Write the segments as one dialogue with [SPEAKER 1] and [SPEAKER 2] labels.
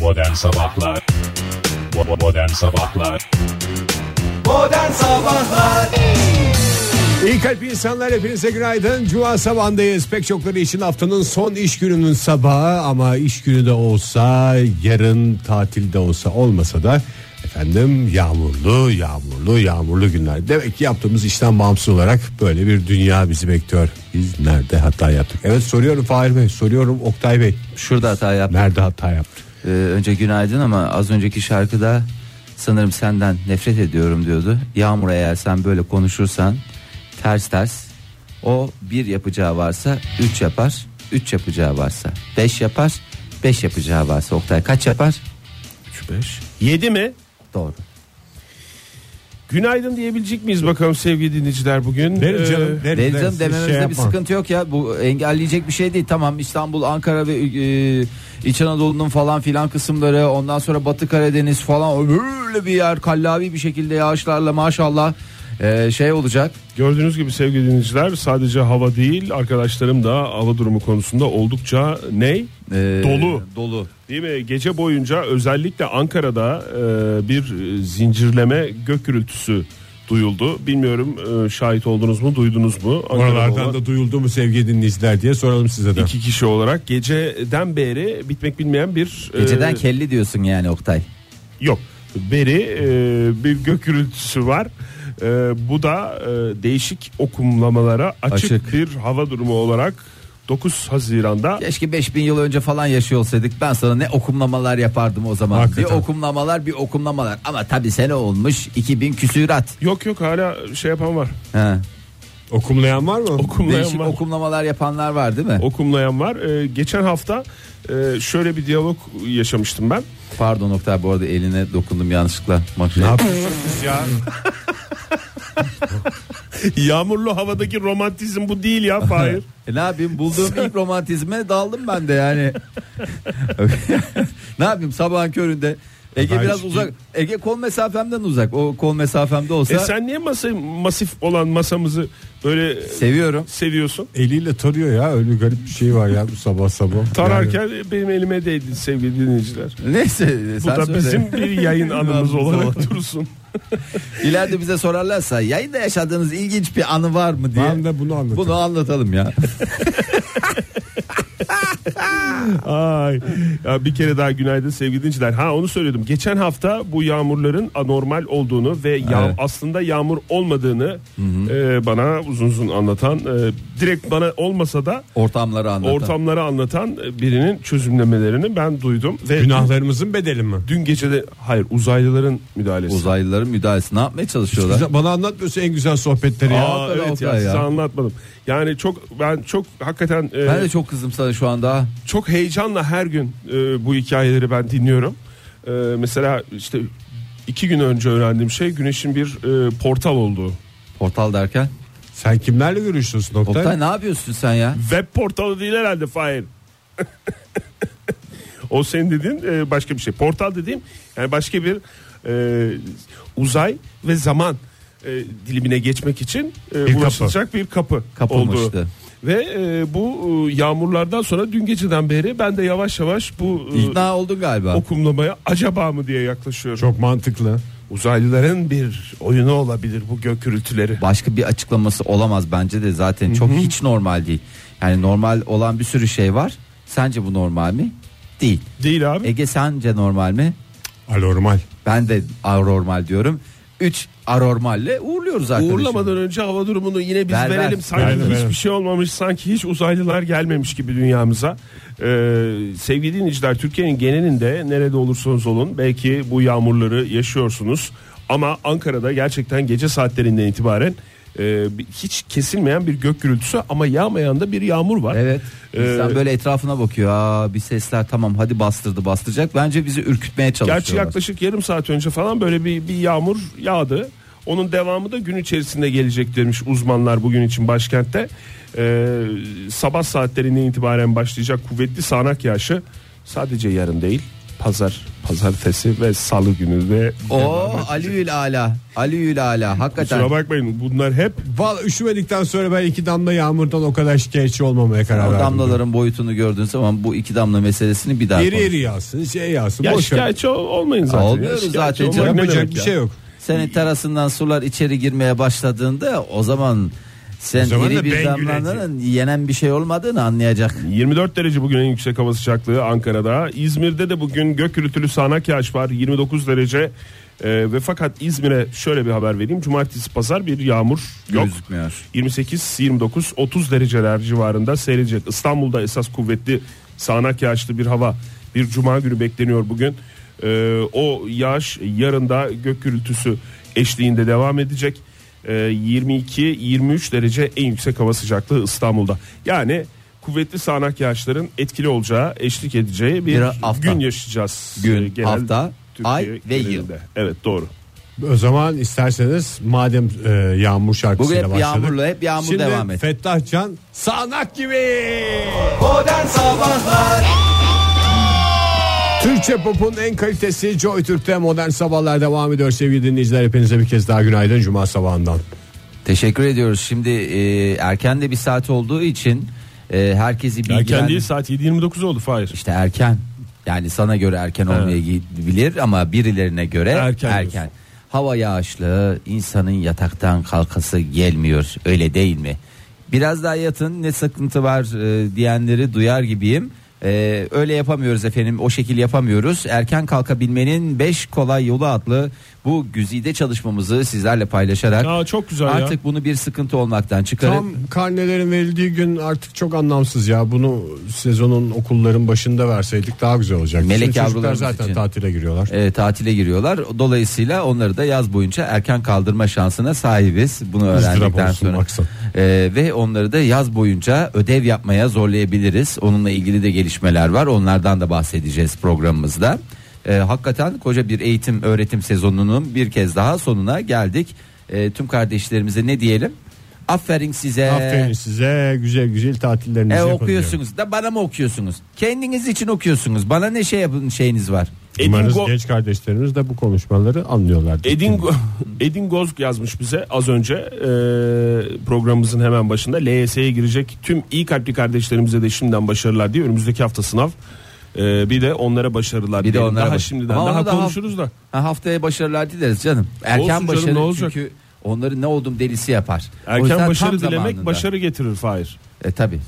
[SPEAKER 1] Modern Sabahlar Bo- Modern Sabahlar
[SPEAKER 2] Modern Sabahlar
[SPEAKER 3] İyi kalp insanlar hepinize günaydın. Cuma sabahındayız. Pek çokları için haftanın son iş gününün sabahı ama iş günü de olsa yarın tatilde olsa olmasa da efendim yağmurlu yağmurlu yağmurlu günler. Demek ki yaptığımız işten bağımsız olarak böyle bir dünya bizi bekliyor. Biz nerede hata yaptık? Evet soruyorum Fahir Bey soruyorum Oktay Bey.
[SPEAKER 4] Şurada hata yaptım.
[SPEAKER 3] Nerede hata yaptık?
[SPEAKER 4] Ee, önce günaydın ama az önceki şarkıda sanırım senden nefret ediyorum diyordu. Yağmur eğer sen böyle konuşursan ters ters o bir yapacağı varsa üç yapar. Üç yapacağı varsa beş yapar. Beş yapacağı varsa Oktay kaç yapar? Üç beş.
[SPEAKER 5] 7 mi?
[SPEAKER 4] Doğru.
[SPEAKER 5] Günaydın diyebilecek miyiz bakalım sevgili dinleyiciler bugün?
[SPEAKER 3] Verin
[SPEAKER 5] Ee,
[SPEAKER 3] canım. verin, verin.
[SPEAKER 4] Deniz Hanım
[SPEAKER 3] Siz
[SPEAKER 4] dememizde
[SPEAKER 3] şey
[SPEAKER 4] bir
[SPEAKER 3] yapma.
[SPEAKER 4] sıkıntı yok ya. Bu engelleyecek bir şey değil. Tamam İstanbul, Ankara ve e, İç Anadolu'nun falan filan kısımları ondan sonra Batı Karadeniz falan öyle bir yer kallavi bir şekilde yağışlarla maşallah e, şey olacak.
[SPEAKER 5] Gördüğünüz gibi sevgili dinleyiciler sadece hava değil arkadaşlarım da hava durumu konusunda oldukça ney?
[SPEAKER 4] E,
[SPEAKER 5] Dolu.
[SPEAKER 4] Dolu.
[SPEAKER 5] Değil mi? Gece boyunca özellikle Ankara'da e, bir e, zincirleme gök gürültüsü duyuldu. Bilmiyorum e, şahit oldunuz mu duydunuz mu? Ankara'da olan-
[SPEAKER 3] Oralardan da duyuldu mu sevgili dinleyiciler diye soralım size de.
[SPEAKER 5] iki kişi olarak geceden beri bitmek bilmeyen bir e,
[SPEAKER 4] Geceden kelli diyorsun yani Oktay.
[SPEAKER 5] Yok. Beri e, bir gök gürültüsü var. E, bu da e, değişik okumlamalara açık,
[SPEAKER 4] Açık.
[SPEAKER 5] bir hava durumu olarak 9 Haziran'da
[SPEAKER 4] Keşke 5000 yıl önce falan yaşıyor olsaydık. Ben sana ne okumlamalar yapardım o zaman.
[SPEAKER 3] Hakikaten.
[SPEAKER 4] Bir okumlamalar, bir okumlamalar. Ama tabii sene olmuş 2000 küsürat.
[SPEAKER 5] Yok yok hala şey yapan var.
[SPEAKER 4] He.
[SPEAKER 3] Okumlayan var mı?
[SPEAKER 5] Okumlayan
[SPEAKER 4] Değişik
[SPEAKER 5] var.
[SPEAKER 4] okumlamalar yapanlar var değil mi?
[SPEAKER 5] Okumlayan var. E, geçen hafta e, şöyle bir diyalog yaşamıştım ben.
[SPEAKER 4] Pardon Oktay bu arada eline dokundum yanlışlıkla. Makineye.
[SPEAKER 5] Yağmurlu havadaki romantizm bu değil ya Fahir.
[SPEAKER 4] E ne yapayım bulduğum ilk romantizme daldım ben de yani. ne yapayım sabahın köründe. Ege
[SPEAKER 3] Ben
[SPEAKER 4] biraz
[SPEAKER 3] hiç-
[SPEAKER 4] uzak. Ege kol mesafemden uzak. O kol mesafemde olsa
[SPEAKER 5] e sen niye masa, masif olan masamızı böyle
[SPEAKER 4] seviyorum.
[SPEAKER 5] seviyorsun?
[SPEAKER 3] Eliyle tarıyor ya öyle garip bir şey var ya bu sabah sabah. Yani-
[SPEAKER 5] Tararken benim elime değdi sevgili dinleyiciler.
[SPEAKER 4] Neyse e,
[SPEAKER 5] Bu
[SPEAKER 4] sen
[SPEAKER 5] da
[SPEAKER 4] söyle.
[SPEAKER 5] bizim bir yayın anımız olarak dursun.
[SPEAKER 4] İleride bize sorarlarsa yayında yaşadığınız ilginç bir anı var mı diye.
[SPEAKER 3] Ben de bunu anlatayım.
[SPEAKER 4] Bunu anlatalım ya.
[SPEAKER 5] Ay. Ya bir kere daha günaydın sevgili dinleyiciler. Ha onu söylüyordum. Geçen hafta bu yağmurların anormal olduğunu ve yağ,
[SPEAKER 4] Evet.
[SPEAKER 5] aslında yağmur olmadığını e, bana uzun uzun anlatan, e, direkt bana olmasa da
[SPEAKER 4] Ortamları anlatan.
[SPEAKER 5] ortamları anlatan e, birinin çözümlemelerini ben duydum ve
[SPEAKER 3] Günahlarımızın bedeli mi?
[SPEAKER 5] dün gece de hayır uzaylıların müdahalesi.
[SPEAKER 4] Uzaylıların müdahalesi ne yapmaya çalışıyorlar?
[SPEAKER 3] Güzel, bana anlatmıyorsun en güzel sohbetleri ya.
[SPEAKER 5] Aa,
[SPEAKER 4] Hakikaten
[SPEAKER 5] evet ya,
[SPEAKER 4] Oktay ya.
[SPEAKER 5] size anlatmadım. Yani çok ben çok hakikaten e,
[SPEAKER 4] Ben de çok kızdım sana şu anda.
[SPEAKER 5] çok heyecanla her gün e, bu hikayeleri ben dinliyorum. E, mesela işte iki gün önce öğrendiğim şey güneşin bir e, portal olduğu.
[SPEAKER 4] Portal derken.
[SPEAKER 3] Sen kimlerle görüşüyorsun Oktay?
[SPEAKER 4] Oktay ne yapıyorsun sen ya?
[SPEAKER 5] Web portalı değil herhalde Fahir. o senin dediğin e, başka bir şey. Portal dediğim yani başka bir e, uzay ve zaman e, dilimine geçmek için e,
[SPEAKER 3] Bir
[SPEAKER 5] ulaşılacak bir kapı,
[SPEAKER 4] Kapı mı
[SPEAKER 5] olduğu.
[SPEAKER 4] işte?
[SPEAKER 5] Ve e, bu e, yağmurlardan sonra dün geceden beri ben de yavaş yavaş bu e,
[SPEAKER 4] İkna oldun galiba.
[SPEAKER 5] okumlamaya acaba mı diye yaklaşıyorum.
[SPEAKER 3] Çok mantıklı.
[SPEAKER 5] Uzaylıların bir oyunu olabilir bu gök gürültüleri.
[SPEAKER 4] Başka bir açıklaması olamaz bence de zaten çok hiç normal değil. Yani normal olan bir sürü şey var. Sence bu normal mi? Değil.
[SPEAKER 5] Değil abi.
[SPEAKER 4] Ege sence normal mi?
[SPEAKER 3] Anormal.
[SPEAKER 4] Ben de anormal diyorum. 3 anormalle uğurluyoruz arkadaşım.
[SPEAKER 5] Uğurlamadan önce hava durumunu yine biz
[SPEAKER 4] Ver, ver.
[SPEAKER 5] verelim. Sanki
[SPEAKER 3] Ver, ver.
[SPEAKER 5] hiçbir şey olmamış, sanki hiç uzaylılar gelmemiş gibi dünyamıza. Ee, sevgili dinleyiciler, Türkiye'nin genelinde nerede olursanız olun belki bu yağmurları yaşıyorsunuz. Ama Ankara'da gerçekten gece saatlerinden itibaren e, bir- hiç kesilmeyen bir gök gürültüsü ama yağmayan da bir yağmur var.
[SPEAKER 4] Evet.
[SPEAKER 5] Ee,
[SPEAKER 4] İnsan böyle etrafına bakıyor. Aa bir sesler tamam hadi bastırdı bastıracak. Bence bizi ürkütmeye
[SPEAKER 5] Gerçi
[SPEAKER 4] çalışıyorlar.
[SPEAKER 5] yaklaşık yarım saat önce falan böyle bir, bir yağmur yağdı. Onun devamı da gün içerisinde gelecek demiş uzmanlar bugün için başkentte. Ee, sabah saatlerinden itibaren başlayacak kuvvetli sağanak yağışı sadece yarın değil pazar, pazartesi ve salı günü de
[SPEAKER 4] O Aliül Ala. Aliül Ala.
[SPEAKER 5] Kusura
[SPEAKER 4] Hakikaten.
[SPEAKER 5] bakmayın bunlar hep
[SPEAKER 3] Valla üşümedikten sonra ben iki damla yağmurdan o kadar şikayetçi olmamaya karar
[SPEAKER 4] O
[SPEAKER 3] verdim.
[SPEAKER 4] damlaların boyutunu gördüğün zaman bu iki damla meselesini bir daha
[SPEAKER 3] Yeri
[SPEAKER 4] konuş.
[SPEAKER 3] yeri yağsın şey yağsın.
[SPEAKER 5] ya
[SPEAKER 3] boş ver.
[SPEAKER 5] şikayetçi ol- olmayın zaten.
[SPEAKER 4] Olmuyoruz
[SPEAKER 5] Ya şikayetçi
[SPEAKER 4] zaten
[SPEAKER 5] olmak
[SPEAKER 4] canım.
[SPEAKER 5] ne
[SPEAKER 3] Yapacak
[SPEAKER 5] demek
[SPEAKER 3] bir
[SPEAKER 5] ya?
[SPEAKER 3] şey yok.
[SPEAKER 4] Senin terasından sular içeri girmeye başladığında o zaman sen
[SPEAKER 3] zaman da
[SPEAKER 4] iri bir
[SPEAKER 3] ben
[SPEAKER 4] damlanın yenen bir şey olmadığını anlayacak.
[SPEAKER 5] 24 derece bugün en yüksek hava sıcaklığı Ankara'da. İzmir'de de bugün gök gürültülü sağanak yağış var 29 derece. Ee, ve fakat İzmir'e şöyle bir haber vereyim. Cumartesi pazar bir yağmur yok.
[SPEAKER 4] Gözükmüyor.
[SPEAKER 5] 28, 29, 30 dereceler civarında seyredecek. İstanbul'da esas kuvvetli sağanak yağışlı bir hava bir cuma günü bekleniyor bugün. Ee, o yağış yarın da gök gürültüsü eşliğinde devam edecek. Ee, 22-23 derece en yüksek hava sıcaklığı İstanbul'da. Yani kuvvetli sağanak yağışların etkili olacağı, eşlik edeceği bir,
[SPEAKER 4] Bir hafta.
[SPEAKER 5] gün yaşayacağız.
[SPEAKER 4] Gün,
[SPEAKER 5] Ee,
[SPEAKER 4] hafta, ay ve
[SPEAKER 5] genelinde.
[SPEAKER 4] yıl.
[SPEAKER 5] Evet doğru.
[SPEAKER 3] O zaman isterseniz madem e, yağmur şarkısıyla
[SPEAKER 4] Bugün hep
[SPEAKER 3] başladık.
[SPEAKER 4] yağmurlu, hep yağmur
[SPEAKER 3] Şimdi
[SPEAKER 4] devam et.
[SPEAKER 3] Fettah Can sağanak gibi.
[SPEAKER 2] Modern Sabahlar
[SPEAKER 3] Türkçe pop'un en kalitesi Joy Türk'te modern sabahlar devam ediyor sevgili dinleyiciler. Hepinize bir kez daha günaydın Cuma sabahından.
[SPEAKER 4] Teşekkür ediyoruz. Şimdi e, erken de bir saat olduğu için e, herkesi bilgilendir.
[SPEAKER 5] Erken değil saat 7.29 oldu Fahir.
[SPEAKER 4] İşte erken. Yani sana göre erken olmayabilir ama birilerine göre
[SPEAKER 5] Erken
[SPEAKER 4] erken.
[SPEAKER 5] diyorsun.
[SPEAKER 4] Hava yağışlı, insanın yataktan kalkası gelmiyor. Öyle değil mi? Biraz daha yatın ne sıkıntı var e, diyenleri duyar gibiyim. E, öyle yapamıyoruz efendim. O şekil yapamıyoruz. Erken kalkabilmenin 5 kolay yolu adlı bu güzide çalışmamızı sizlerle paylaşarak
[SPEAKER 5] Aa, çok güzel ya.
[SPEAKER 4] artık bunu bir sıkıntı olmaktan çıkarıp
[SPEAKER 3] Tam karnelerin verildiği gün artık çok anlamsız ya. Bunu sezonun okulların başında verseydik daha güzel olacaktı.
[SPEAKER 4] Melek
[SPEAKER 3] Şimdi çocuklar
[SPEAKER 4] yavrularımız
[SPEAKER 3] zaten
[SPEAKER 4] için.
[SPEAKER 3] tatile giriyorlar.
[SPEAKER 4] e, tatile giriyorlar. Dolayısıyla onları da yaz boyunca erken kaldırma şansına sahibiz. Bunu
[SPEAKER 3] Izdırap
[SPEAKER 4] öğrendikten
[SPEAKER 3] olsun
[SPEAKER 4] sonra.
[SPEAKER 3] maksat.
[SPEAKER 4] E, ve onları da yaz boyunca ödev yapmaya zorlayabiliriz. Onunla ilgili de gelişmeler var. Onlardan da bahsedeceğiz programımızda. E, hakikaten koca bir eğitim öğretim sezonunun bir kez daha sonuna geldik. E, tüm kardeşlerimize ne diyelim? Aferin size.
[SPEAKER 3] Aferin size güzel güzel tatillerinizi
[SPEAKER 4] Ee. E
[SPEAKER 3] yapın diyorum.
[SPEAKER 4] okuyorsunuz da bana mı okuyorsunuz? Kendiniz için okuyorsunuz. Bana ne şey yapın şeyiniz var?
[SPEAKER 3] Umarız
[SPEAKER 5] Edingo-
[SPEAKER 3] genç kardeşlerimiz de bu konuşmaları anlıyorlar.
[SPEAKER 5] Edin, Go- Edin Gozg yazmış bize az önce e, programımızın hemen başında LYS'ye girecek tüm iyi kalpli kardeşlerimize de şimdiden başarılar diye önümüzdeki hafta sınav E, bir de onlara başarılar
[SPEAKER 4] Bir de
[SPEAKER 5] diyelim.
[SPEAKER 4] onlara
[SPEAKER 5] daha
[SPEAKER 4] baş-
[SPEAKER 5] şimdiden
[SPEAKER 4] Ama
[SPEAKER 5] daha
[SPEAKER 4] onu da haf-
[SPEAKER 5] konuşuruz da
[SPEAKER 4] Ha, haftaya başarılar dileriz canım. Erken
[SPEAKER 5] Olsun canım,
[SPEAKER 4] başarı
[SPEAKER 5] ne olacak?
[SPEAKER 4] çünkü onları ne oldum delisi yapar. O yüzden
[SPEAKER 5] erken
[SPEAKER 4] tam
[SPEAKER 5] başarı dilemek
[SPEAKER 4] zamanında.
[SPEAKER 5] başarı getirir Fahir.
[SPEAKER 4] E tabi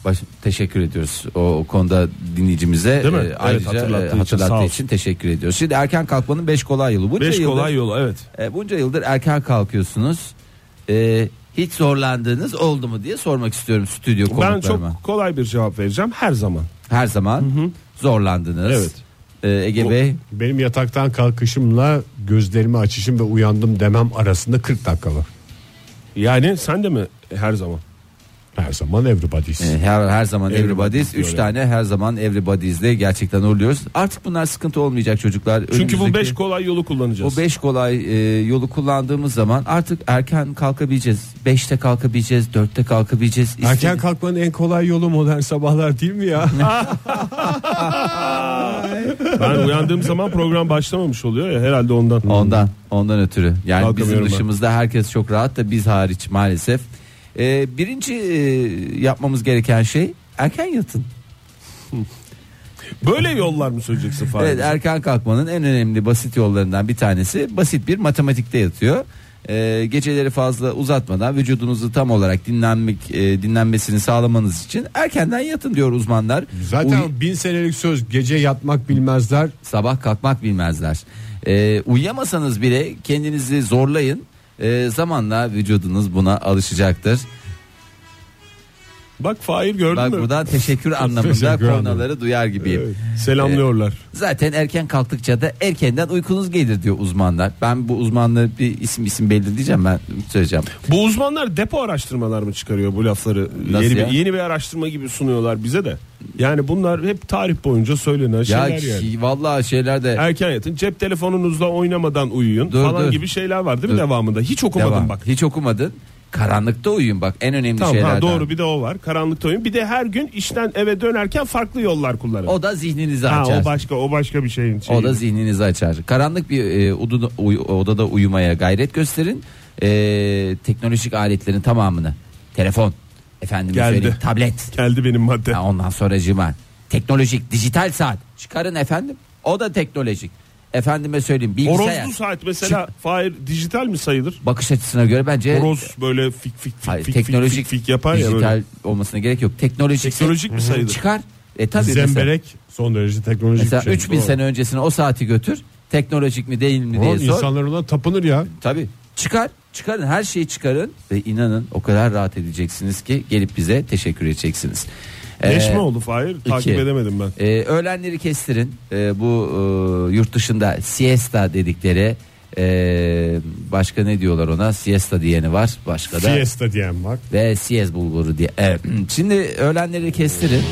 [SPEAKER 4] teşekkür ediyoruz o, o konuda dinleyicimize
[SPEAKER 5] Değil mi?
[SPEAKER 4] e,
[SPEAKER 5] Evet,
[SPEAKER 4] ayrıca e,
[SPEAKER 5] hatırlattığı
[SPEAKER 4] hatırlattığı,
[SPEAKER 5] için, sağ olsun.
[SPEAKER 4] için, teşekkür ediyoruz. Şimdi erken kalkmanın 5 kolay yolu. Bunca
[SPEAKER 5] Beş
[SPEAKER 4] yıldır,
[SPEAKER 5] kolay yolu evet.
[SPEAKER 4] e, bunca yıldır erken kalkıyorsunuz. E, hiç zorlandığınız oldu mu diye sormak istiyorum stüdyo
[SPEAKER 5] Ben
[SPEAKER 4] konuklarıma.
[SPEAKER 5] çok kolay bir cevap vereceğim her zaman.
[SPEAKER 4] Her zaman zorlandınız.
[SPEAKER 5] Evet.
[SPEAKER 4] E, Ege
[SPEAKER 5] O-
[SPEAKER 4] Bey
[SPEAKER 3] Benim yataktan kalkışımla gözlerimi açışım ve uyandım demem arasında 40 dakika var.
[SPEAKER 5] Yani sen de mi her zaman?
[SPEAKER 3] Her zaman everybody's.
[SPEAKER 4] E, Her, her zaman
[SPEAKER 5] Everybody's
[SPEAKER 4] Everybody's. Üç
[SPEAKER 5] diyor
[SPEAKER 4] tane her zaman Everybody's'de gerçekten uğurluyoruz. Artık bunlar sıkıntı olmayacak çocuklar.
[SPEAKER 5] Çünkü bu
[SPEAKER 4] Önümüzdeki-
[SPEAKER 5] beş kolay yolu kullanacağız.
[SPEAKER 4] bu beş kolay e, yolu kullandığımız zaman artık erken kalkabileceğiz. Beşte kalkabileceğiz, dörtte kalkabileceğiz.
[SPEAKER 3] Erken
[SPEAKER 4] İstedi-
[SPEAKER 3] kalkmanın en kolay yolu modern sabahlar değil mi ya?
[SPEAKER 5] ben uyandığım zaman program başlamamış oluyor ya herhalde ondan.
[SPEAKER 4] Ondan, ondan ötürü. Yani bizim
[SPEAKER 5] Kalkamıyorum ben.
[SPEAKER 4] dışımızda herkes çok rahat da biz hariç maalesef. E, birinci e, yapmamız gereken şey erken yatın.
[SPEAKER 5] Böyle yollar mı söyleyeceksin Fahir?
[SPEAKER 4] Evet erken kalkmanın en önemli basit yollarından bir tanesi basit bir matematikte yatıyor. Ee, geceleri fazla uzatmadan vücudunuzu tam olarak dinlenmek e, dinlenmesini sağlamanız için erkenden yatın diyor uzmanlar.
[SPEAKER 3] Zaten
[SPEAKER 4] Uyu-
[SPEAKER 3] bin senelik söz gece yatmak bilmezler.
[SPEAKER 4] sabah kalkmak bilmezler. Ee, uyuyamasanız bile kendinizi zorlayın. Ee, zamanla vücudunuz buna alışacaktır.
[SPEAKER 5] Bak Fahir gördün
[SPEAKER 4] Bak
[SPEAKER 5] mü?
[SPEAKER 4] buradan teşekkür anlamında
[SPEAKER 3] Teşekkür ederim.
[SPEAKER 4] konuları duyar gibiyim.
[SPEAKER 5] Selamlıyorlar.
[SPEAKER 4] Zaten erken kalktıkça da erkenden uykunuz gelir diyor uzmanlar. Ben bu uzmanlığı bir isim isim belirleyeceğim ben söyleyeceğim.
[SPEAKER 5] Bu uzmanlar depo araştırmalar mı çıkarıyor bu lafları?
[SPEAKER 4] Nasıl
[SPEAKER 5] yeni,
[SPEAKER 4] ya?
[SPEAKER 5] bir, yeni bir araştırma gibi sunuyorlar bize de. Yani bunlar hep tarih boyunca söylenen
[SPEAKER 4] Ya
[SPEAKER 5] şeyler yani.
[SPEAKER 4] ki- vallahi şeyler de
[SPEAKER 5] Erken yatın, cep telefonunuzla oynamadan uyuyun
[SPEAKER 4] Dur,
[SPEAKER 5] falan
[SPEAKER 4] dur.
[SPEAKER 5] gibi şeyler var değil mi
[SPEAKER 4] Dur.
[SPEAKER 5] devamında? Hiç okumadım
[SPEAKER 4] devam.
[SPEAKER 5] bak.
[SPEAKER 4] Hiç okumadın. Karanlıkta uyuyun bak en önemli
[SPEAKER 5] Tamam
[SPEAKER 4] şeylerden.
[SPEAKER 5] ha, doğru bir de o var. Karanlıkta oyun. Bir de her gün işten eve dönerken farklı yollar kullanın.
[SPEAKER 4] O da zihninizi
[SPEAKER 5] ha,
[SPEAKER 4] açar.
[SPEAKER 5] o başka o başka bir şeyin. şeyi.
[SPEAKER 4] O da zihninizi açar. Karanlık bir e, oduda- uy- odada uyumaya gayret gösterin. E, teknolojik aletlerin tamamını. Telefon, efendim
[SPEAKER 5] Geldi.
[SPEAKER 4] söyleyeyim tablet.
[SPEAKER 5] geldi benim madde.
[SPEAKER 4] Ha, ondan sonra cima. Teknolojik, dijital saat. Çıkarın efendim. O da teknolojik. Efendime söyleyeyim bilgisayar.
[SPEAKER 5] Horozlu saat mesela Fahir dijital mi sayılır?
[SPEAKER 4] Bakış açısına göre bence
[SPEAKER 5] Horoz böyle fik fik fik
[SPEAKER 4] Hayır,
[SPEAKER 5] fik,
[SPEAKER 4] teknolojik
[SPEAKER 5] fik, fik, fik yapar ya
[SPEAKER 4] dijital
[SPEAKER 5] böyle.
[SPEAKER 4] olmasına gerek yok. Teknolojik
[SPEAKER 5] Teknolojik mi sayılır?
[SPEAKER 4] Çıkar. E tabii mesela,
[SPEAKER 3] Zemberek son derece teknolojik
[SPEAKER 4] mesela
[SPEAKER 3] bir şey.
[SPEAKER 4] 3000 sene öncesine o saati götür. Teknolojik mi değil mi
[SPEAKER 3] Doğru.
[SPEAKER 4] diye
[SPEAKER 3] Oğlum,
[SPEAKER 4] sor.
[SPEAKER 3] İnsanlar ona tapınır ya.
[SPEAKER 4] Tabii. Çıkar. Çıkarın her şeyi çıkarın ve inanın o kadar rahat edeceksiniz ki gelip bize teşekkür edeceksiniz.
[SPEAKER 5] Leş
[SPEAKER 4] Ee,
[SPEAKER 5] mi oldu Fahir? Takip edemedim ben.
[SPEAKER 4] Ee, öğlenleri kestirin. Ee, bu e, yurt dışında siesta dedikleri e, başka ne diyorlar ona? Siesta diyeni var. Başka da
[SPEAKER 3] Fiesta diyen var.
[SPEAKER 4] ve siyez bulguru diye. Evet. Şimdi öğlenleri kestirin.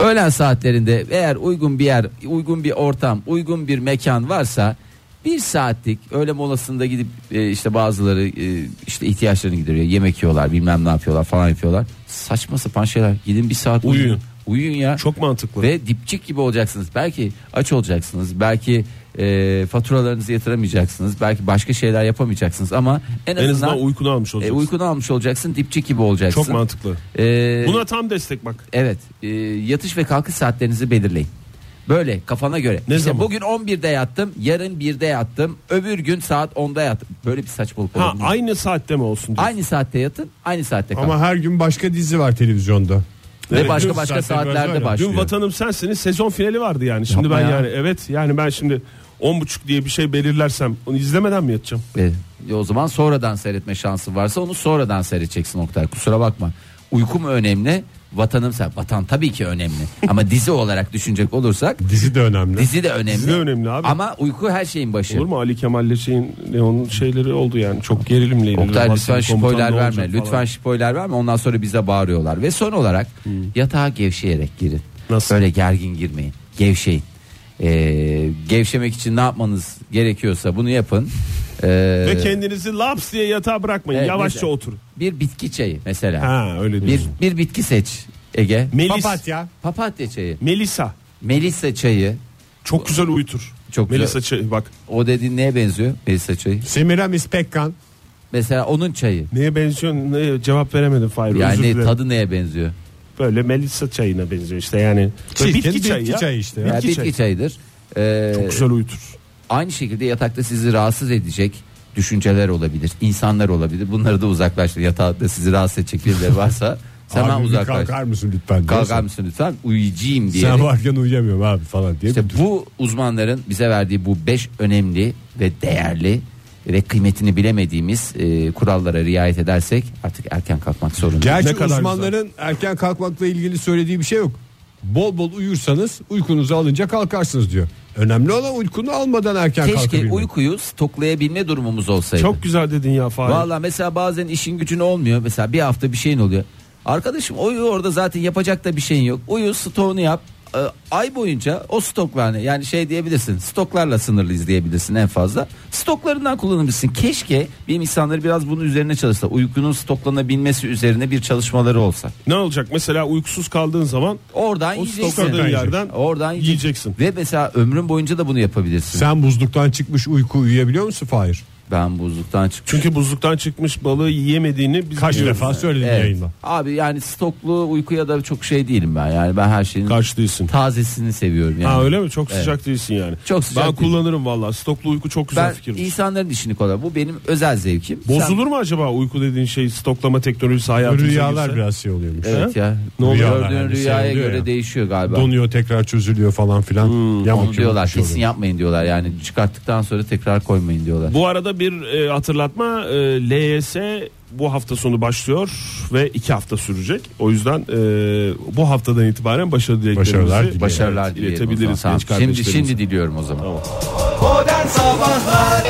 [SPEAKER 4] Öğlen saatlerinde eğer uygun bir yer, uygun bir ortam, uygun bir mekan varsa bir saatlik öğle molasında gidip e, işte bazıları e, işte ihtiyaçlarını gideriyor. Yemek yiyorlar, bilmem ne yapıyorlar falan yapıyorlar. Saçma sapan şeyler. Gidin bir saat
[SPEAKER 5] Uyuyun.
[SPEAKER 4] uyuyun. Uyuyun ya.
[SPEAKER 5] Çok mantıklı.
[SPEAKER 4] Ve dipçik gibi olacaksınız. Belki aç olacaksınız. Belki e, faturalarınızı yatıramayacaksınız. Belki başka şeyler yapamayacaksınız ama en
[SPEAKER 5] en azından
[SPEAKER 4] azından
[SPEAKER 5] uykunu almış
[SPEAKER 4] e,
[SPEAKER 5] olacaksın.
[SPEAKER 4] uykunu almış olacaksın. Dipçik gibi olacaksın.
[SPEAKER 5] Çok mantıklı.
[SPEAKER 4] E,
[SPEAKER 5] Buna tam destek bak.
[SPEAKER 4] Evet. e, yatış ve kalkış saatlerinizi belirleyin. Böyle kafana göre.
[SPEAKER 5] Ne
[SPEAKER 4] işte
[SPEAKER 5] zaman?
[SPEAKER 4] bugün 11'de yattım, yarın 1'de yattım, öbür gün saat 10'da yattım. Böyle bir saçmalık
[SPEAKER 5] Ha
[SPEAKER 4] olur mu?
[SPEAKER 5] aynı saatte mi olsun? diyorsun?
[SPEAKER 4] Aynı saatte yatın, aynı saatte kalkın.
[SPEAKER 3] Ama her gün başka dizi var televizyonda.
[SPEAKER 4] Ve
[SPEAKER 5] Evet,
[SPEAKER 4] başka
[SPEAKER 5] dün
[SPEAKER 4] başka
[SPEAKER 3] saatler var
[SPEAKER 4] saatlerde
[SPEAKER 3] ya, dün
[SPEAKER 4] başlıyor.
[SPEAKER 5] Dün vatanım sensiniz sezon finali vardı yani. Şimdi
[SPEAKER 4] Yapma
[SPEAKER 5] ben
[SPEAKER 4] ya.
[SPEAKER 5] yani evet yani ben şimdi 10.30 diye bir şey belirlersem onu izlemeden mi yatacağım?
[SPEAKER 4] E, e, o zaman sonradan seyretme şansın varsa onu sonradan seyredeceksin Oktay. Kusura bakma. Uyku mu önemli? Vatanım sen. Vatan tabii ki önemli. Ama dizi olarak düşünecek olursak
[SPEAKER 3] Dizi de önemli.
[SPEAKER 4] dizi de önemli.
[SPEAKER 5] Dizi de önemli abi.
[SPEAKER 4] Ama uyku her şeyin başı.
[SPEAKER 5] Olur mu Ali Kemal'le şeyin ne onun şeyleri oldu yani çok gerilimle ilgili.
[SPEAKER 4] Oktay lütfen
[SPEAKER 5] Vatanım
[SPEAKER 4] spoiler
[SPEAKER 5] komutan ne
[SPEAKER 4] verme.
[SPEAKER 5] olacak
[SPEAKER 4] Lütfen
[SPEAKER 5] falan.
[SPEAKER 4] spoiler verme. Ondan sonra bize bağırıyorlar. Ve son olarak yatağa gevşeyerek girin.
[SPEAKER 5] Nasıl?
[SPEAKER 4] Böyle gergin girmeyin. Gevşeyin. Ee, gevşemek için ne yapmanız gerekiyorsa bunu yapın. Ee,
[SPEAKER 5] Ve kendinizi laps diye yatağa bırakmayın.
[SPEAKER 4] Evet,
[SPEAKER 5] E, Yavaşça
[SPEAKER 4] mesela.
[SPEAKER 5] oturun.
[SPEAKER 4] bir bitki çayı mesela.
[SPEAKER 5] Ha öyle
[SPEAKER 4] Bir,
[SPEAKER 5] diyorsun.
[SPEAKER 4] bir bitki seç Ege.
[SPEAKER 5] Melis,
[SPEAKER 3] Papatya.
[SPEAKER 4] Papatya çayı,
[SPEAKER 5] Melisa
[SPEAKER 4] melisa çayı.
[SPEAKER 5] çok güzel uyutur.
[SPEAKER 4] Çok güzel.
[SPEAKER 5] Melisa çayı bak.
[SPEAKER 4] O dediğin neye benziyor? Melisa çayı.
[SPEAKER 3] Semiramis Pekkan.
[SPEAKER 4] Mesela onun çayı.
[SPEAKER 5] Neye benziyor? Ne, cevap veremedim Fahir. özür
[SPEAKER 4] Yani
[SPEAKER 5] dilerim.
[SPEAKER 4] tadı neye benziyor?
[SPEAKER 5] böyle Melisa çayına benziyor işte yani.
[SPEAKER 3] Çirkin
[SPEAKER 5] Bitki
[SPEAKER 3] bitki
[SPEAKER 5] çayı ya.
[SPEAKER 3] çayı işte ya.
[SPEAKER 4] Ya
[SPEAKER 5] Bitki
[SPEAKER 4] bitki
[SPEAKER 5] çayı.
[SPEAKER 4] çayıdır. Ee,
[SPEAKER 5] Çok güzel uyutur.
[SPEAKER 4] aynı şekilde yatakta sizi rahatsız edecek düşünceler olabilir. insanlar olabilir. Bunları da uzaklaştır. Yatakta sizi rahatsız edecek birileri varsa sen hemen
[SPEAKER 3] Abi bir
[SPEAKER 4] uzaklaş.
[SPEAKER 3] kalkar mısın lütfen?
[SPEAKER 4] Kalkar
[SPEAKER 3] Dersin.
[SPEAKER 4] mısın lütfen? Uyuyacağım diye.
[SPEAKER 3] Sen varken uyuyamıyorum abi falan diye.
[SPEAKER 4] İşte bu uzmanların bize verdiği bu 5 önemli ve değerli ve kıymetini bilemediğimiz e, kurallara riayet edersek artık erken kalkmak zorundayız.
[SPEAKER 3] Gerçi
[SPEAKER 5] Ne kadar
[SPEAKER 3] uzmanların erken kalkmakla ilgili söylediği bir şey yok. Bol bol uyursanız uykunuzu alınca kalkarsınız diyor. Önemli olan uykunu almadan erken
[SPEAKER 4] Keşke
[SPEAKER 3] kalkabilmek.
[SPEAKER 4] uykuyu stoklayabilme durumumuz olsaydı.
[SPEAKER 5] Çok güzel dedin ya Fahir.
[SPEAKER 4] Valla mesela bazen işin gücün olmuyor. Mesela bir hafta bir şeyin oluyor. Arkadaşım uyu orada zaten yapacak da bir şeyin yok. Uyu stoğunu yap. Ee, ay boyunca o stoklarını yani şey diyebilirsin. Stoklarla sınırlıyız diyebilirsin en fazla. Stoklarından kullanabilirsin. Keşke bilim insanları biraz bunun üzerine çalışsa. Uykunun stoklanabilmesi üzerine bir çalışmaları olsa.
[SPEAKER 5] Ne olacak mesela uykusuz kaldığın zaman
[SPEAKER 4] Oradan
[SPEAKER 5] o
[SPEAKER 4] yiyeceksin.
[SPEAKER 5] stokladığın yerden
[SPEAKER 4] Oradan
[SPEAKER 5] yiyeceksin.
[SPEAKER 4] Ve mesela ömrün boyunca da bunu yapabilirsin.
[SPEAKER 3] Sen buzluktan çıkmış uyku uyuyabiliyor musun Fahir?
[SPEAKER 4] Ben buzluktan çıktım.
[SPEAKER 5] Çünkü buzluktan çıkmış balığı yiyemediğini biz
[SPEAKER 3] Kaç
[SPEAKER 5] biliyoruz.
[SPEAKER 3] defa söyledin
[SPEAKER 4] Evet.
[SPEAKER 3] yayında.
[SPEAKER 4] Abi yani stoklu uykuya da çok şey değilim ben. Yani ben her şeyin
[SPEAKER 5] Karşı değilsin.
[SPEAKER 4] tazesini seviyorum yani.
[SPEAKER 5] Ha öyle mi? Çok
[SPEAKER 4] Evet.
[SPEAKER 5] sıcak değilsin yani.
[SPEAKER 4] Çok sıcak
[SPEAKER 5] Ben
[SPEAKER 4] değil.
[SPEAKER 5] kullanırım valla. Stoklu uyku çok güzel
[SPEAKER 4] Ben
[SPEAKER 5] fikirmiş.
[SPEAKER 4] insanların işini kolay. Bu benim özel zevkim.
[SPEAKER 5] Bozulur mu acaba uyku dediğin şey stoklama teknolojisi hayatımıza
[SPEAKER 3] Rüyalar
[SPEAKER 5] girse?
[SPEAKER 3] biraz şey oluyormuş.
[SPEAKER 4] Sen- Evet
[SPEAKER 5] Ha?
[SPEAKER 4] ya.
[SPEAKER 5] Ne oluyor?
[SPEAKER 4] Gördüğün
[SPEAKER 3] Yani şey
[SPEAKER 4] rüyaya
[SPEAKER 3] oluyor
[SPEAKER 4] göre
[SPEAKER 3] ya.
[SPEAKER 4] değişiyor galiba.
[SPEAKER 3] Donuyor tekrar çözülüyor falan filan. Yamak
[SPEAKER 4] Hmm, Onu
[SPEAKER 3] yamak
[SPEAKER 4] diyorlar
[SPEAKER 3] bir şey
[SPEAKER 4] kesin
[SPEAKER 3] oluyor.
[SPEAKER 4] yapmayın diyorlar yani çıkarttıktan sonra tekrar koymayın diyorlar.
[SPEAKER 5] Bu arada bir e, hatırlatma e, LYS bu hafta sonu başlıyor ve iki hafta sürecek. O yüzden e, bu haftadan itibaren başarı
[SPEAKER 3] Başarılar
[SPEAKER 5] dileklerimizi
[SPEAKER 3] dileyelim.
[SPEAKER 4] Başarılar
[SPEAKER 5] evet,
[SPEAKER 4] dileyelim o
[SPEAKER 5] iletebiliriz
[SPEAKER 4] zaman.
[SPEAKER 5] genç
[SPEAKER 4] Tamam. Şimdi
[SPEAKER 5] kardeşlerimize.
[SPEAKER 4] şimdi diliyorum o zaman.
[SPEAKER 2] Modern Sabahlar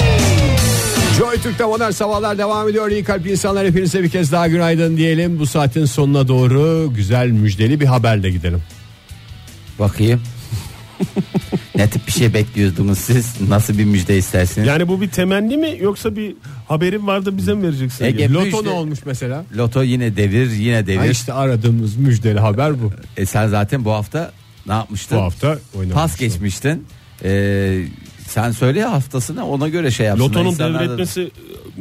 [SPEAKER 3] Joy Türk'te modern sabahlar devam ediyor. İyi kalp insanlar hepinize bir kez daha günaydın diyelim. Bu saatin sonuna doğru güzel müjdeli bir haberle gidelim.
[SPEAKER 4] Bakayım. ne tip bir şey bekliyordunuz siz? Nasıl bir müjde istersiniz?
[SPEAKER 5] Yani bu bir temenni mi yoksa bir haberin var da bize mi vereceksin?
[SPEAKER 4] Ege-
[SPEAKER 5] diye?
[SPEAKER 3] Loto
[SPEAKER 4] müjde-
[SPEAKER 3] ne olmuş mesela?
[SPEAKER 4] Loto yine devir, yine devir.
[SPEAKER 3] Ha işte aradığımız müjdeli haber bu.
[SPEAKER 4] E sen zaten bu hafta ne yapmıştın?
[SPEAKER 3] Bu hafta oynamıştım.
[SPEAKER 4] Pas geçmiştin. E, sen söyle ya haftasını ona göre şey yapsın.
[SPEAKER 5] Lotonun
[SPEAKER 4] İnsanlar da-
[SPEAKER 5] devretmesi e,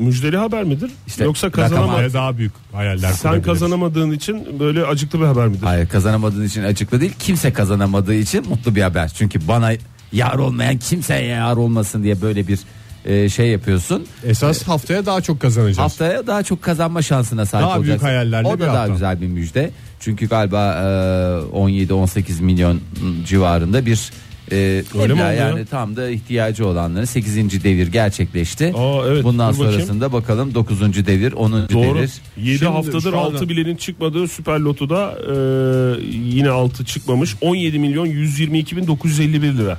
[SPEAKER 5] müjdeli haber midir?
[SPEAKER 4] İşte
[SPEAKER 5] yoksa
[SPEAKER 4] rakam
[SPEAKER 5] kazanamaz.
[SPEAKER 4] altı.
[SPEAKER 3] daha büyük hayaller
[SPEAKER 5] Sen kazanamadığın için böyle acıklı bir haber midir?
[SPEAKER 4] Hayır kazanamadığın için açıkla değil. Kimse kazanamadığı için mutlu bir haber. Çünkü bana yar olmayan kimseye yar olmasın diye böyle bir e, şey yapıyorsun.
[SPEAKER 3] Esas haftaya daha çok kazanacağız.
[SPEAKER 4] Haftaya daha çok kazanma şansına sahip
[SPEAKER 3] Daha büyük
[SPEAKER 4] olacaksın.
[SPEAKER 3] hayallerle
[SPEAKER 4] O da
[SPEAKER 3] bir
[SPEAKER 4] daha
[SPEAKER 3] hafta.
[SPEAKER 4] güzel bir müjde. Çünkü galiba e, 17-18 milyon civarında bir e,
[SPEAKER 5] mi
[SPEAKER 4] meblağ
[SPEAKER 5] oldu ya?
[SPEAKER 4] yani tam da ihtiyacı olanların 8. devir gerçekleşti.
[SPEAKER 5] Aa, evet.
[SPEAKER 4] Bundan
[SPEAKER 5] Dur bakayım.
[SPEAKER 4] sonrasında bakalım 9. devir, 10.
[SPEAKER 5] Doğru.
[SPEAKER 4] devir.
[SPEAKER 5] 7
[SPEAKER 3] Şimdi
[SPEAKER 5] haftadır
[SPEAKER 3] şu anda-
[SPEAKER 5] 6 bilenin çıkmadığı Süper Loto'da e, yine 6 çıkmamış. 17 milyon 122 bin 951 lira.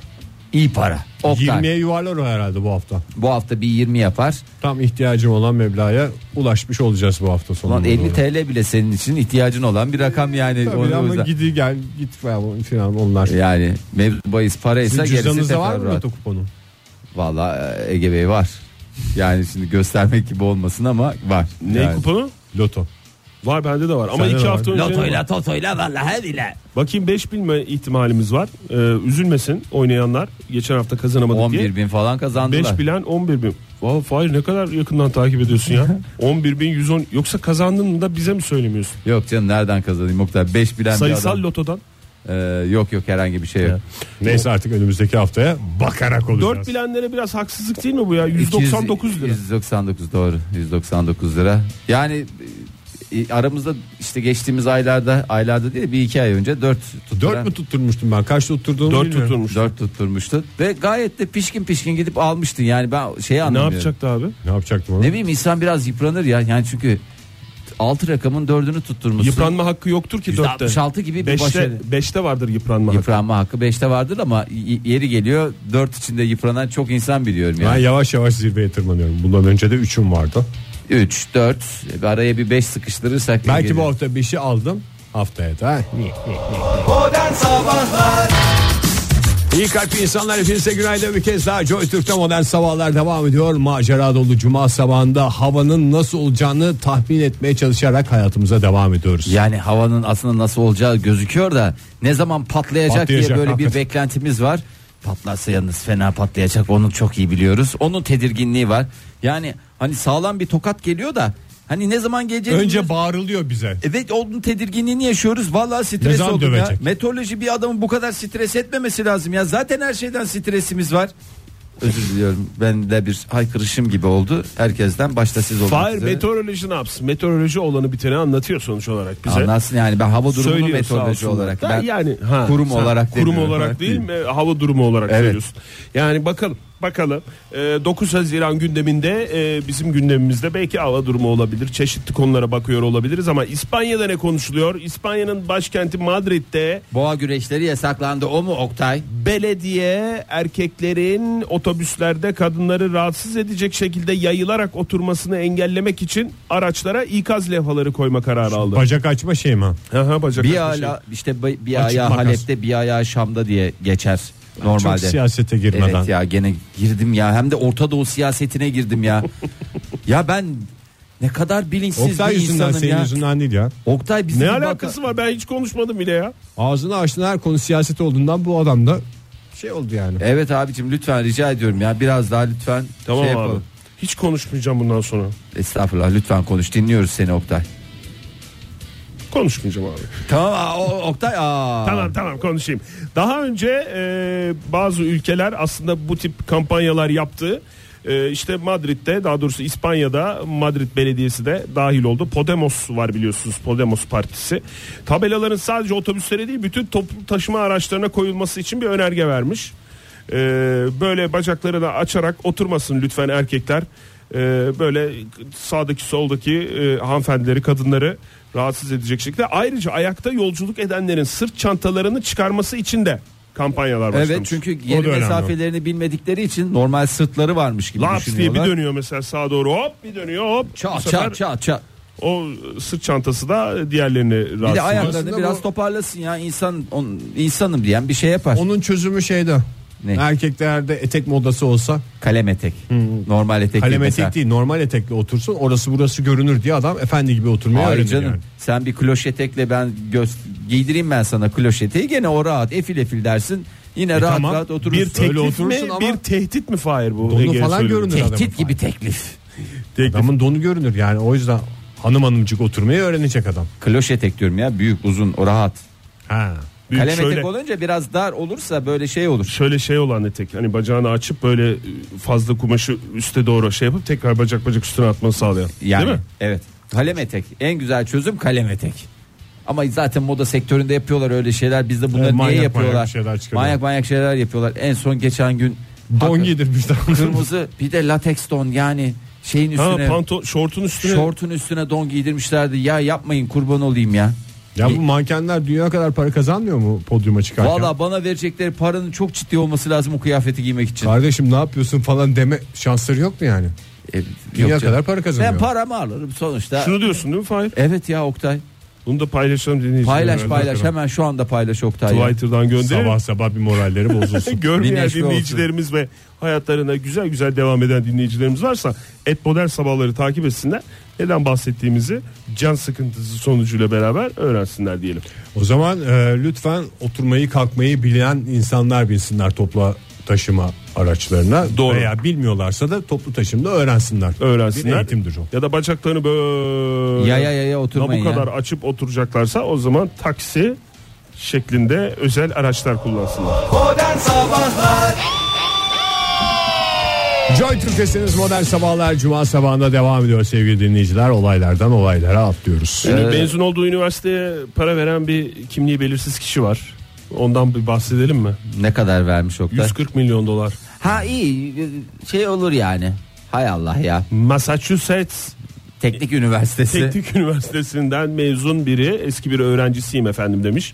[SPEAKER 4] İyi para. Oktay.
[SPEAKER 3] 20'ye yuvarlar o herhalde bu hafta.
[SPEAKER 4] Bu hafta bir 20 yapar.
[SPEAKER 3] Tam ihtiyacım olan meblağa ulaşmış olacağız bu hafta sonunda.
[SPEAKER 4] Ulan 50 TL bile senin için ihtiyacın olan bir rakam yani.
[SPEAKER 3] Tabii
[SPEAKER 4] Onu-
[SPEAKER 3] ama gidi gel git falan filan onlar.
[SPEAKER 4] yani mevzu bahis paraysa
[SPEAKER 3] Sizin
[SPEAKER 4] gerisi
[SPEAKER 3] cüzdanınızda var
[SPEAKER 4] tekrar
[SPEAKER 3] mı
[SPEAKER 4] rahat.
[SPEAKER 3] loto kuponu?
[SPEAKER 4] Valla e, Ege Bey var. Yani şimdi göstermek gibi olmasın ama var.
[SPEAKER 5] Ne
[SPEAKER 4] yani.
[SPEAKER 5] kuponu?
[SPEAKER 3] Loto.
[SPEAKER 5] Var bende de var ama
[SPEAKER 3] Sende
[SPEAKER 5] 2
[SPEAKER 3] de
[SPEAKER 5] hafta
[SPEAKER 3] var.
[SPEAKER 5] önce
[SPEAKER 4] Lotoyla totoyla vallahi bile.
[SPEAKER 5] bakayım 5 bilme ihtimalimiz var. E, üzülmesin oynayanlar geçen hafta kazanamadı diye.
[SPEAKER 4] 11 bin falan
[SPEAKER 5] 5
[SPEAKER 4] kazandılar.
[SPEAKER 5] bilen 11 bin. Vay Fahir ne kadar yakından takip ediyorsun ya. 11 bin 110 yoksa kazandın da bize mi söylemiyorsun?
[SPEAKER 4] Yok canım nereden kazanayım Oktay 5 bilen bir
[SPEAKER 5] Sayısal
[SPEAKER 4] adam.
[SPEAKER 5] lotodan.
[SPEAKER 4] Ee, yok yok herhangi bir şey yok.
[SPEAKER 3] Neyse artık önümüzdeki haftaya bakarak olacağız.
[SPEAKER 5] 4 bilenlere biraz haksızlık değil mi bu ya? 199 lira.
[SPEAKER 4] 199 doğru 199 lira. Yani e, aramızda işte geçtiğimiz aylarda aylarda değil bir iki ay önce 4 tutturan.
[SPEAKER 3] 4 mü tutturmuştum ben? Kaç tutturduğumu
[SPEAKER 5] 4
[SPEAKER 3] bilmiyorum.
[SPEAKER 5] tutulmuş.
[SPEAKER 4] 4 tutturmuştu ve gayet de pişkin pişkin gidip almıştın yani ben şeyi
[SPEAKER 5] Ne
[SPEAKER 4] anlamıyorum.
[SPEAKER 5] yapacaktı abi?
[SPEAKER 3] Ne yapacaktım onu?
[SPEAKER 4] Ne bileyim insan biraz yıpranır ya. Yani çünkü 6 rakamın 4'ünü tutturmuşsun.
[SPEAKER 5] Yıpranma hakkı yoktur ki 4'te.
[SPEAKER 4] 166 gibi bir
[SPEAKER 5] 5'te,
[SPEAKER 4] başarı.
[SPEAKER 5] 5'te vardır yıpranma hakkı.
[SPEAKER 4] Yıpranma hakkı 5'te vardır ama y- yeri geliyor 4 içinde yıpranan çok insan biliyorum
[SPEAKER 3] Ben
[SPEAKER 4] yani.
[SPEAKER 3] yavaş yavaş zirveye tırmanıyorum. Bundan önce de 3'üm vardı.
[SPEAKER 4] 3 4 araya e, bir 5 sıkıştırırsak
[SPEAKER 3] Belki bu
[SPEAKER 4] geliyor.
[SPEAKER 3] hafta bir şey aldım. Haftaya da.
[SPEAKER 2] Modern Sabahlar
[SPEAKER 3] İyi kalpli insanlar hepinize günaydın bir kez daha Joy Türk'te modern sabahlar devam ediyor. Macera dolu cuma sabahında havanın nasıl olacağını tahmin etmeye çalışarak hayatımıza devam ediyoruz.
[SPEAKER 4] yani havanın aslında nasıl olacağı gözüküyor da ne zaman patlayacak, diye
[SPEAKER 3] Patlayacak,
[SPEAKER 4] böyle bir
[SPEAKER 3] hakikaten.
[SPEAKER 4] beklentimiz var. Patlarsa yalnız fena patlayacak onu çok iyi biliyoruz. Onun tedirginliği var. Yani hani sağlam bir tokat geliyor da hani ne zaman geleceğini
[SPEAKER 3] Önce bağırılıyor bize.
[SPEAKER 4] Evet onun tedirginliğini yaşıyoruz. Vallahi
[SPEAKER 3] Ne
[SPEAKER 4] stres
[SPEAKER 3] zaman
[SPEAKER 4] oldum ya.
[SPEAKER 3] dövecek?
[SPEAKER 4] Meteoroloji bir adamın bu kadar stres etmemesi lazım ya. Zaten her şeyden stresimiz var. Özür diliyorum. Ben de bir haykırışım gibi oldu. Herkesten başta siz olmak
[SPEAKER 5] Fahir
[SPEAKER 4] üzere.
[SPEAKER 5] meteoroloji ne yapsın? Meteoroloji olanı biteni anlatıyor sonuç olarak bize.
[SPEAKER 4] Anlatsın yani ben hava durumunu
[SPEAKER 5] Söylüyor
[SPEAKER 4] meteoroloji
[SPEAKER 5] sağ olsun.
[SPEAKER 4] olarak.
[SPEAKER 5] Da
[SPEAKER 4] Ben
[SPEAKER 5] yani ha,
[SPEAKER 4] kurum
[SPEAKER 5] sen
[SPEAKER 4] olarak
[SPEAKER 5] kurum
[SPEAKER 4] demiyorum.
[SPEAKER 5] olarak değil mi? Hava durumu olarak
[SPEAKER 4] Evet.
[SPEAKER 5] söylüyorsun. Yani bakalım bakalım Ee, 9 Haziran gündeminde e, bizim gündemimizde belki hava durumu olabilir. Çeşitli konulara bakıyor olabiliriz ama İspanya'da ne konuşuluyor? İspanya'nın başkenti Madrid'de
[SPEAKER 4] Boğa güreşleri yasaklandı. O mu Oktay?
[SPEAKER 5] belediye erkeklerin otobüslerde kadınları rahatsız edecek şekilde yayılarak oturmasını engellemek için araçlara ikaz levhaları koyma kararı aldı.
[SPEAKER 3] Bacak açma şey mi?
[SPEAKER 5] Aha, bacak
[SPEAKER 4] Bir
[SPEAKER 5] arası
[SPEAKER 4] ayağı işte bir, bir
[SPEAKER 3] Açık
[SPEAKER 4] ayağı
[SPEAKER 3] makas.
[SPEAKER 4] Halep'te bir ayağı Şam'da diye geçer normalde.
[SPEAKER 3] Çok siyasete girmeden.
[SPEAKER 4] Evet ya gene girdim ya hem de Orta Doğu siyasetine girdim ya. ya ben ne kadar bilinçsiz
[SPEAKER 3] Oktay
[SPEAKER 4] bir
[SPEAKER 3] yüzünden
[SPEAKER 4] insanım
[SPEAKER 3] senin
[SPEAKER 4] ya.
[SPEAKER 3] yüzünden değil ya.
[SPEAKER 4] Oktay bizim
[SPEAKER 5] şey. Ne
[SPEAKER 4] bir
[SPEAKER 5] alakası var ben hiç konuşmadım bile ya.
[SPEAKER 3] Ağzını açtın her konu siyaset olduğundan bu adam da şey oldu yani.
[SPEAKER 4] Evet abicim lütfen rica ediyorum ya biraz daha lütfen
[SPEAKER 5] Tamam
[SPEAKER 4] şey
[SPEAKER 5] abi.
[SPEAKER 4] yapalım.
[SPEAKER 5] Hiç konuşmayacağım bundan sonra.
[SPEAKER 4] Estağfurullah lütfen konuş dinliyoruz seni Oktay.
[SPEAKER 5] Konuşmayacağım abi.
[SPEAKER 4] Tamam aa, o- Oktay aa.
[SPEAKER 5] Tamam tamam konuşayım. Daha önce e, bazı ülkeler aslında bu tip kampanyalar yaptı. E, işte Madrid'de daha doğrusu İspanya'da Madrid Belediyesi de dahil oldu. Podemos var biliyorsunuz Podemos Partisi. Tabelaların sadece otobüslere değil bütün toplu taşıma araçlarına koyulması için bir önerge vermiş. E, böyle bacakları da açarak oturmasın lütfen erkekler. E, böyle sağdaki soldaki e, hanımefendileri kadınları rahatsız edecek şekilde. Ayrıca ayakta yolculuk edenlerin sırt çantalarını çıkarması için de kampanyalar başlamış.
[SPEAKER 4] Evet çünkü
[SPEAKER 3] O
[SPEAKER 4] yeri
[SPEAKER 3] da önemli.
[SPEAKER 4] mesafelerini bilmedikleri için normal sırtları varmış gibi
[SPEAKER 5] Laps diye bir
[SPEAKER 4] düşünüyorlar.
[SPEAKER 5] dönüyor mesela sağa doğru hop bir dönüyor hop. Bu
[SPEAKER 4] Çat
[SPEAKER 5] sefer
[SPEAKER 4] çat çat çat.
[SPEAKER 5] O sırt çantası da diğerlerini
[SPEAKER 4] Bir de
[SPEAKER 5] rahatsız
[SPEAKER 4] ayaklarını
[SPEAKER 5] ediyor.
[SPEAKER 3] Aslında
[SPEAKER 4] biraz
[SPEAKER 3] bu-
[SPEAKER 4] toparlasın ya insan on, insanım diyen bir şey yapar.
[SPEAKER 3] Onun çözümü şeyde.
[SPEAKER 4] Ne?
[SPEAKER 3] Erkeklerde etek modası olsa
[SPEAKER 4] Kalem etek.
[SPEAKER 5] Hmm.
[SPEAKER 4] Normal etek.
[SPEAKER 3] kalem
[SPEAKER 4] değil
[SPEAKER 3] etek
[SPEAKER 4] mesela.
[SPEAKER 3] değil normal etekle otursun orası burası görünür diye adam efendi gibi oturmaya
[SPEAKER 4] Hayır
[SPEAKER 3] öğrenir
[SPEAKER 4] canım.
[SPEAKER 3] yani.
[SPEAKER 4] Sen bir kloşetekle ben göz giydireyim ben sana kloşeteyi gene o rahat efil efil dersin. Yine rahat
[SPEAKER 5] E Tamam.
[SPEAKER 4] rahat
[SPEAKER 5] bir
[SPEAKER 4] oturursun.
[SPEAKER 3] Öyle
[SPEAKER 5] teklif mi,
[SPEAKER 3] oturursun ama-
[SPEAKER 5] bir tehdit mi Fahir bu?
[SPEAKER 3] Donu
[SPEAKER 5] Ege
[SPEAKER 3] falan
[SPEAKER 5] söyledi.
[SPEAKER 3] görünür. adamın
[SPEAKER 4] Tehdit gibi
[SPEAKER 3] fayda.
[SPEAKER 4] teklif.
[SPEAKER 5] Teklif.
[SPEAKER 3] Adamın donu görünür yani o yüzden hanım hanımcık oturmayı öğrenecek adam.
[SPEAKER 4] Kloşetek diyorum ya büyük uzun o rahat.
[SPEAKER 3] Ha.
[SPEAKER 5] Büyük
[SPEAKER 4] Kalem
[SPEAKER 5] şöyle,
[SPEAKER 4] etek olunca biraz dar olursa böyle şey olur.
[SPEAKER 5] şöyle şey olan etek. Hani bacağını açıp böyle fazla kumaşı üste doğru şey yapıp tekrar bacak bacak üstüne atmanı sağlayan.
[SPEAKER 4] Yani
[SPEAKER 5] Değil mi?
[SPEAKER 4] evet. Kalem etek en güzel çözüm kalem etek. Ama zaten moda sektöründe yapıyorlar öyle şeyler. Bizde bunları
[SPEAKER 3] manyak
[SPEAKER 4] niye
[SPEAKER 3] manyak
[SPEAKER 4] yapıyorlar?
[SPEAKER 3] şeyler çıkarıyor.
[SPEAKER 4] manyak manyak şeyler yapıyorlar. En son geçen gün
[SPEAKER 3] Don
[SPEAKER 4] Hakikaten-
[SPEAKER 3] giydirmişler.
[SPEAKER 4] kırmızı bir de lateks don yani şeyin
[SPEAKER 5] Ha
[SPEAKER 4] üstüne
[SPEAKER 5] panto şortun üstüne.
[SPEAKER 4] şortun üstüne don giydirmişlerdi. Ya yapmayın kurban olayım ya.
[SPEAKER 3] ya bu mankenler dünya kadar para kazanmıyor mu podyuma çıkarken?
[SPEAKER 4] Valla bana verecekleri paranın çok ciddi olması lazım o kıyafeti giymek için.
[SPEAKER 3] Kardeşim ne yapıyorsun falan deme şansları yok mu yani?
[SPEAKER 4] E, yok
[SPEAKER 3] Dünya
[SPEAKER 4] canım.
[SPEAKER 3] kadar para kazanıyor.
[SPEAKER 4] Ben paramı alırım sonuçta.
[SPEAKER 5] Şunu diyorsun değil mi Fahir?
[SPEAKER 4] Evet ya Oktay.
[SPEAKER 5] Bunu da paylaşalım dinleyicilerimize.
[SPEAKER 4] Paylaş paylaş hemen şu anda paylaş Oktay. ya.
[SPEAKER 5] Twitter'dan gönderelim.
[SPEAKER 3] Sabah sabah bir moralleri bozulsun.
[SPEAKER 4] Bir
[SPEAKER 5] Görmeyen
[SPEAKER 4] neşve
[SPEAKER 5] dinleyicilerimiz ve hayatlarına güzel güzel devam eden dinleyicilerimiz varsa et modern sabahları takip etsinler. Neden bahsettiğimizi can sıkıntısı sonucuyla beraber öğrensinler diyelim.
[SPEAKER 3] O zaman e, lütfen oturmayı kalkmayı bilen insanlar bilsinler toplu taşıma araçlarına.
[SPEAKER 5] Doğru.
[SPEAKER 3] Veya bilmiyorlarsa da toplu taşımda öğrensinler.
[SPEAKER 5] Öğrensinler.
[SPEAKER 3] Bir eğitimdir o.
[SPEAKER 5] Ya da bacaklarını böyle
[SPEAKER 4] Yaya yaya oturmayın
[SPEAKER 5] bu kadar
[SPEAKER 4] ya.
[SPEAKER 5] açıp oturacaklarsa o zaman taksi şeklinde özel araçlar kullansınlar.
[SPEAKER 2] Modern Sabahlar
[SPEAKER 3] Joy Türkçesiniz modern sabahlar cuma sabahında devam ediyor sevgili dinleyiciler. Olaylardan olaylara atlıyoruz.
[SPEAKER 5] Şimdi mezun olduğu üniversiteye para veren bir kimliği belirsiz kişi var. Ondan bir bahsedelim mi?
[SPEAKER 4] Ne kadar vermiş Oktay?
[SPEAKER 5] 140 milyon dolar.
[SPEAKER 4] Ha iyi şey olur yani. Hay Allah ya.
[SPEAKER 5] Massachusetts
[SPEAKER 4] Teknik Üniversitesi.
[SPEAKER 5] Teknik Üniversitesi'nden mezun biri eski bir öğrencisiyim efendim demiş.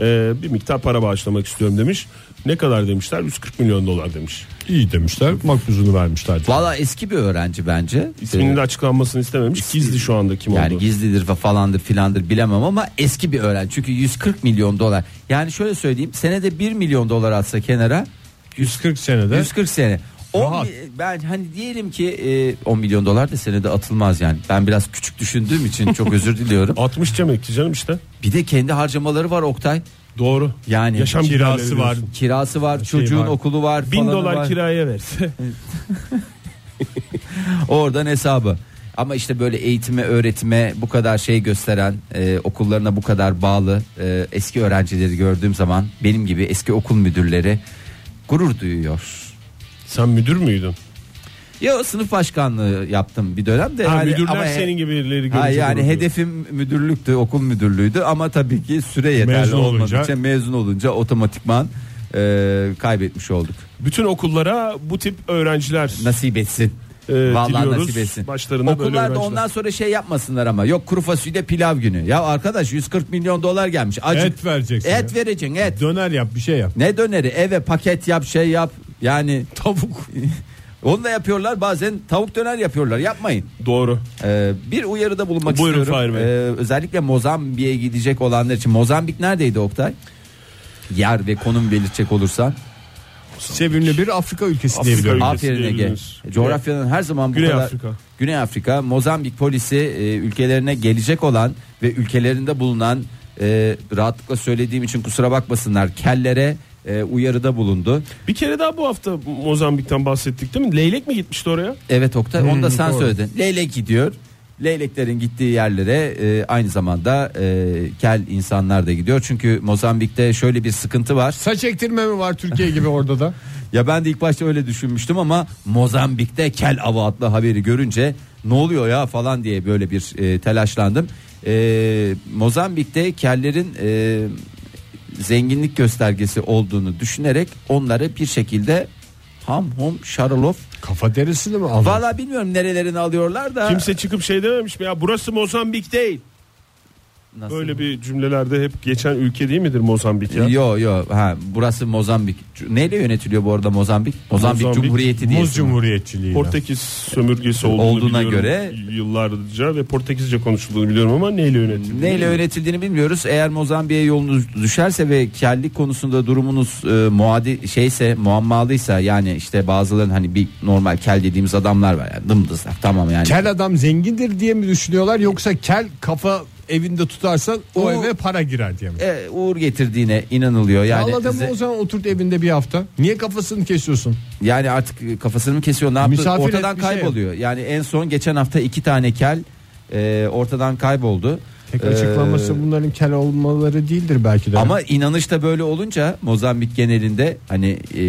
[SPEAKER 5] Ee, bir miktar para bağışlamak istiyorum demiş. Ne kadar demişler? 140 milyon dolar demiş.
[SPEAKER 3] İyi demişler makbuzunu vermişler.
[SPEAKER 4] Valla eski bir öğrenci bence.
[SPEAKER 5] İsminin
[SPEAKER 4] Ee,
[SPEAKER 5] de açıklanmasını istememiş. Gizli şu anda kim
[SPEAKER 4] yani
[SPEAKER 5] oldu.
[SPEAKER 4] gizlidir ve falandır filandır bilemem ama eski bir öğrenci. Çünkü 140 milyon dolar. Yani şöyle söyleyeyim senede 1 milyon dolar atsa kenara
[SPEAKER 3] 140 senede
[SPEAKER 4] 140 sene. On
[SPEAKER 3] Rahat.
[SPEAKER 4] mi- ben hani diyelim ki e, 10 milyon dolar da senede atılmaz yani. Ben biraz küçük düşündüğüm için çok özür diliyorum.
[SPEAKER 5] 60 demek ki canım işte.
[SPEAKER 4] Bir de kendi harcamaları var Oktay.
[SPEAKER 5] Doğru.
[SPEAKER 4] Yani
[SPEAKER 5] Yaşam
[SPEAKER 3] kirası var.
[SPEAKER 4] kirası var, çocuğun
[SPEAKER 3] var.
[SPEAKER 4] okulu var,
[SPEAKER 5] 1000
[SPEAKER 4] falanı
[SPEAKER 5] dolar
[SPEAKER 4] var.
[SPEAKER 5] kiraya verse.
[SPEAKER 4] Oradan hesabı. Ama işte böyle eğitime, öğretime bu kadar şey gösteren, e, okullarına bu kadar bağlı e, eski öğrencileri gördüğüm zaman benim gibi eski okul müdürleri gurur duyuyor.
[SPEAKER 5] Sen müdür müydün?
[SPEAKER 4] Ya sınıf başkanlığı yaptım bir dönem de.
[SPEAKER 5] Ha,
[SPEAKER 4] yani-
[SPEAKER 5] müdürler
[SPEAKER 4] ama he-
[SPEAKER 5] senin gibileri
[SPEAKER 4] Ha,
[SPEAKER 5] görünce
[SPEAKER 4] yani
[SPEAKER 5] gurur duyuyor.
[SPEAKER 4] hedefim müdürlüktü, okul müdürlüğüydü ama tabii ki süre yeterli
[SPEAKER 3] Mezun
[SPEAKER 4] olmadığı
[SPEAKER 3] olunca-
[SPEAKER 4] için mezun olunca otomatikman e, kaybetmiş olduk.
[SPEAKER 5] Bütün okullara bu tip öğrenciler
[SPEAKER 4] Nasip etsin.
[SPEAKER 5] Ee,
[SPEAKER 4] Vallahi
[SPEAKER 5] diliyoruz.
[SPEAKER 4] nasip etsin.
[SPEAKER 5] Başlarına böyle
[SPEAKER 4] Okullarda
[SPEAKER 5] öğrenciler.
[SPEAKER 4] ondan sonra şey yapmasınlar ama. Yok kuru fasulye pilav günü. Ya arkadaş 140 milyon dolar gelmiş. Acık,
[SPEAKER 3] Et vereceksin
[SPEAKER 4] Et
[SPEAKER 3] ya.
[SPEAKER 4] vereceksin et.
[SPEAKER 3] döner yap bir şey yap.
[SPEAKER 4] Ne döneri eve paket yap şey yap. Yani tavuk. Onu da yapıyorlar bazen tavuk döner yapıyorlar yapmayın.
[SPEAKER 5] Doğru.
[SPEAKER 4] Ee, bir uyarıda bulunmak
[SPEAKER 5] Buyurun Fahir
[SPEAKER 4] istiyorum.
[SPEAKER 5] Bey.
[SPEAKER 4] Ee, özellikle Mozambik'e gidecek olanlar için. Mozambik neredeydi Oktay? Yer ve konum belirtecek olursa.
[SPEAKER 3] Sevimli bir Afrika ülkesi
[SPEAKER 5] Afrika
[SPEAKER 3] diyebilirim.
[SPEAKER 5] ülkesi.
[SPEAKER 4] Aferin Ege.
[SPEAKER 5] diyebiliriz.
[SPEAKER 4] E, Coğrafyanın her zaman bu
[SPEAKER 5] Güney
[SPEAKER 4] kadar...
[SPEAKER 5] Afrika.
[SPEAKER 4] Güney Afrika, Mozambik polisi e, ülkelerine gelecek olan ve ülkelerinde bulunan e, rahatlıkla söylediğim için kusura bakmasınlar kellere e, uyarıda bulundu.
[SPEAKER 5] Bir kere daha bu hafta Mozambik'ten bahsettik değil mi? Leylek mi gitmişti oraya?
[SPEAKER 4] Evet Oktay onu da sen
[SPEAKER 3] Hmm, doğru.
[SPEAKER 4] söyledin. Leylek gidiyor. Leyleklerin gittiği yerlere e, aynı zamanda e, kel insanlar da gidiyor. Çünkü Mozambik'te şöyle bir sıkıntı var.
[SPEAKER 3] Saç ektirme mi var Türkiye gibi orada da?
[SPEAKER 4] Ya ben de ilk başta öyle düşünmüştüm ama Mozambik'te kel avı adlı haberi görünce ne oluyor ya falan diye böyle bir e, telaşlandım. E, Mozambik'te kellerin e, zenginlik göstergesi olduğunu düşünerek onları bir şekilde ham hom şaralof.
[SPEAKER 3] Kafa derisini mi aldın?
[SPEAKER 4] Valla bilmiyorum nerelerini alıyorlar da.
[SPEAKER 5] Kimse çıkıp şey dememiş mi ya burası Mozambik değil.
[SPEAKER 4] Nasıl?
[SPEAKER 5] Böyle bir cümlelerde hep geçen ülke değil midir Mozambik ya?
[SPEAKER 4] Yo yo ha burası Mozambik. Cu- Neyle yönetiliyor bu arada Mozambik? Mozambik,
[SPEAKER 5] Mozambik,
[SPEAKER 4] Cumhuriyeti diye.
[SPEAKER 3] Muz Cumhuriyetçiliği.
[SPEAKER 5] Portekiz sömürgesi olduğunu
[SPEAKER 4] Olduğuna
[SPEAKER 5] biliyorum
[SPEAKER 4] göre-
[SPEAKER 5] yıllarca ve Portekizce konuşulduğunu biliyorum ama neyle yönetildi?
[SPEAKER 4] Neyle yönetildiğini bilmiyoruz. Eğer Mozambik'e yolunuz düşerse ve kellik konusunda durumunuz e, muadi şeyse muammalıysa yani işte bazıların hani bir normal kel dediğimiz adamlar var yani dımdızlak tamam yani.
[SPEAKER 3] Kel adam zengindir diye mi düşünüyorlar yoksa kel kafa evinde tutarsan o,
[SPEAKER 4] O-
[SPEAKER 3] eve para girer diye mi?
[SPEAKER 4] E, uğur getirdiğine inanılıyor yani.
[SPEAKER 3] Al adamı
[SPEAKER 4] ze-
[SPEAKER 3] o zaman oturt evinde bir hafta. Niye kafasını kesiyorsun?
[SPEAKER 4] Yani artık e, kafasını mı kesiyor ne yaptı
[SPEAKER 3] Misafir
[SPEAKER 4] ortadan
[SPEAKER 3] et, bir şey yok.
[SPEAKER 4] kayboluyor. Yani en son geçen hafta iki tane kel e, ortadan kayboldu.
[SPEAKER 3] Tek
[SPEAKER 4] E,
[SPEAKER 3] açıklaması bunların kel olmaları değildir belki de.
[SPEAKER 4] Ama inanışta böyle olunca Mozambik genelinde hani e,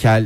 [SPEAKER 4] kel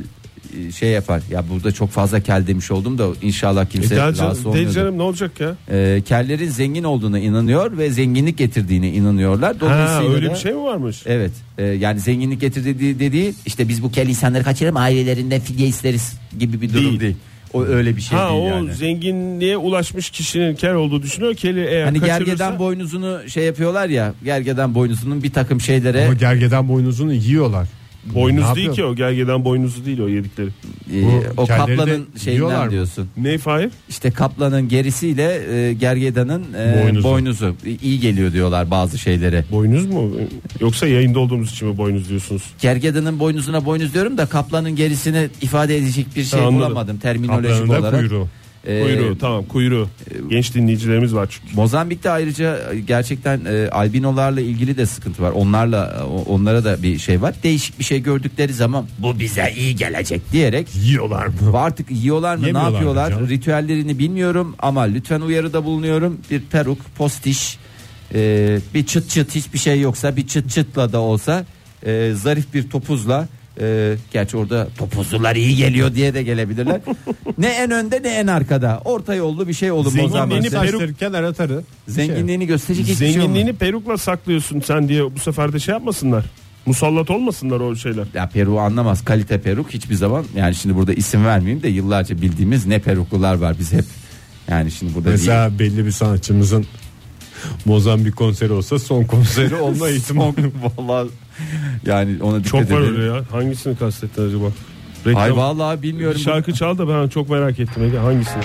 [SPEAKER 4] e, şey yapar. Ya burada çok fazla kel demiş oldum da inşallah kimse
[SPEAKER 5] E, Delcan-
[SPEAKER 4] rahatsız olmuyordur.
[SPEAKER 5] Delcan'ım ne olacak ya?
[SPEAKER 4] E, kellerin zengin olduğuna inanıyor ve zenginlik getirdiğine inanıyorlar.
[SPEAKER 5] Ha,
[SPEAKER 4] Dolayısıyla
[SPEAKER 5] öyle
[SPEAKER 4] da-
[SPEAKER 5] bir şey mi varmış?
[SPEAKER 4] Evet e, yani zenginlik getirdiği dediği işte biz bu kel insanları kaçıralım ailelerinden fidye isteriz gibi bir durum değil.
[SPEAKER 5] Değil.
[SPEAKER 4] O öyle bir şey
[SPEAKER 5] ha
[SPEAKER 4] değil
[SPEAKER 5] o
[SPEAKER 4] yani.
[SPEAKER 5] zenginliğe ulaşmış kişinin kel olduğu düşünüyor. Keli eğer
[SPEAKER 4] Hani
[SPEAKER 5] kaçırırsa...
[SPEAKER 4] gergeden boynuzunu şey yapıyorlar ya gergeden boynuzunun bir takım şeylere
[SPEAKER 3] Ama gergeden boynuzunu yiyorlar.
[SPEAKER 5] Boynuz
[SPEAKER 3] Ne
[SPEAKER 5] değil
[SPEAKER 3] yapıyor?
[SPEAKER 5] ki o gergeden boynuzu değil o yedikleri.
[SPEAKER 4] e,
[SPEAKER 3] Bu
[SPEAKER 4] o
[SPEAKER 3] kelleri
[SPEAKER 4] kaplanın
[SPEAKER 3] de yiyorlar
[SPEAKER 4] şeyinden
[SPEAKER 3] mı?
[SPEAKER 4] diyorsun.
[SPEAKER 5] Ne Fahir?
[SPEAKER 4] İşte kaplanın gerisiyle e, gergedanın e, boynuzu.
[SPEAKER 3] Boynuzu.
[SPEAKER 4] E, iyi geliyor diyorlar bazı şeylere.
[SPEAKER 5] Boynuz mu? Yoksa yayında olduğumuz için mi boynuz diyorsunuz?
[SPEAKER 4] Gergedanın boynuzuna boynuz diyorum da kaplanın gerisini ifade edecek bir şey
[SPEAKER 5] anladım.
[SPEAKER 4] bulamadım terminolojik
[SPEAKER 3] Kaplanın da
[SPEAKER 4] olarak.
[SPEAKER 3] kuyruğu.
[SPEAKER 4] E,
[SPEAKER 5] kuyruğu tamam kuyruğu. Genç dinleyicilerimiz var çünkü.
[SPEAKER 4] Mozambik'te ayrıca gerçekten e, albinolarla ilgili de sıkıntı var. Onlarla e, o- onlara da bir şey var. Değişik bir şey gördükleri zaman bu bize iyi gelecek diyerek
[SPEAKER 3] Yiyorlar mı?
[SPEAKER 4] artık yiyorlar mı ne
[SPEAKER 3] Yemiyorlar mı
[SPEAKER 4] yapıyorlar
[SPEAKER 3] canım?
[SPEAKER 4] ritüellerini bilmiyorum ama lütfen uyarıda bulunuyorum. Bir peruk, postiş, e, bir çıt çıt hiçbir şey yoksa bir çıt çıtla da olsa e, zarif bir topuzla e, gerçi orada topuzlular iyi geliyor diye de gelebilirler. ne en önde ne en arkada. Orta yollu bir şey olun
[SPEAKER 5] Zenginliğini
[SPEAKER 4] Mozambik'te.
[SPEAKER 5] peruk-
[SPEAKER 3] Saçları kenara tarı. Bir şey.
[SPEAKER 4] Zenginliğini gösterecek hiçbir şey olmadı.
[SPEAKER 5] Zenginliğini perukla saklıyorsun sen diye bu sefer de şey yapmasınlar. Musallat olmasınlar o şeyler.
[SPEAKER 4] Ya Peru anlamaz. Kalite peruk hiçbir zaman yani şimdi burada isim vermeyeyim de yıllarca bildiğimiz ne peruklular var biz hep. Yani şimdi burada
[SPEAKER 3] Mesela belli bir sanatçımızın Mozambik konseri olsa son konseri olma ihtimali.
[SPEAKER 4] değil. vallahi yani ona dikkat
[SPEAKER 5] Çok var
[SPEAKER 4] edelim.
[SPEAKER 5] öyle ya. Hangisini kastettin acaba?
[SPEAKER 4] Ay
[SPEAKER 5] Reklam,
[SPEAKER 4] vallahi bilmiyorum.
[SPEAKER 5] şarkı çal da ben çok merak ettim. Ege, Hangisini?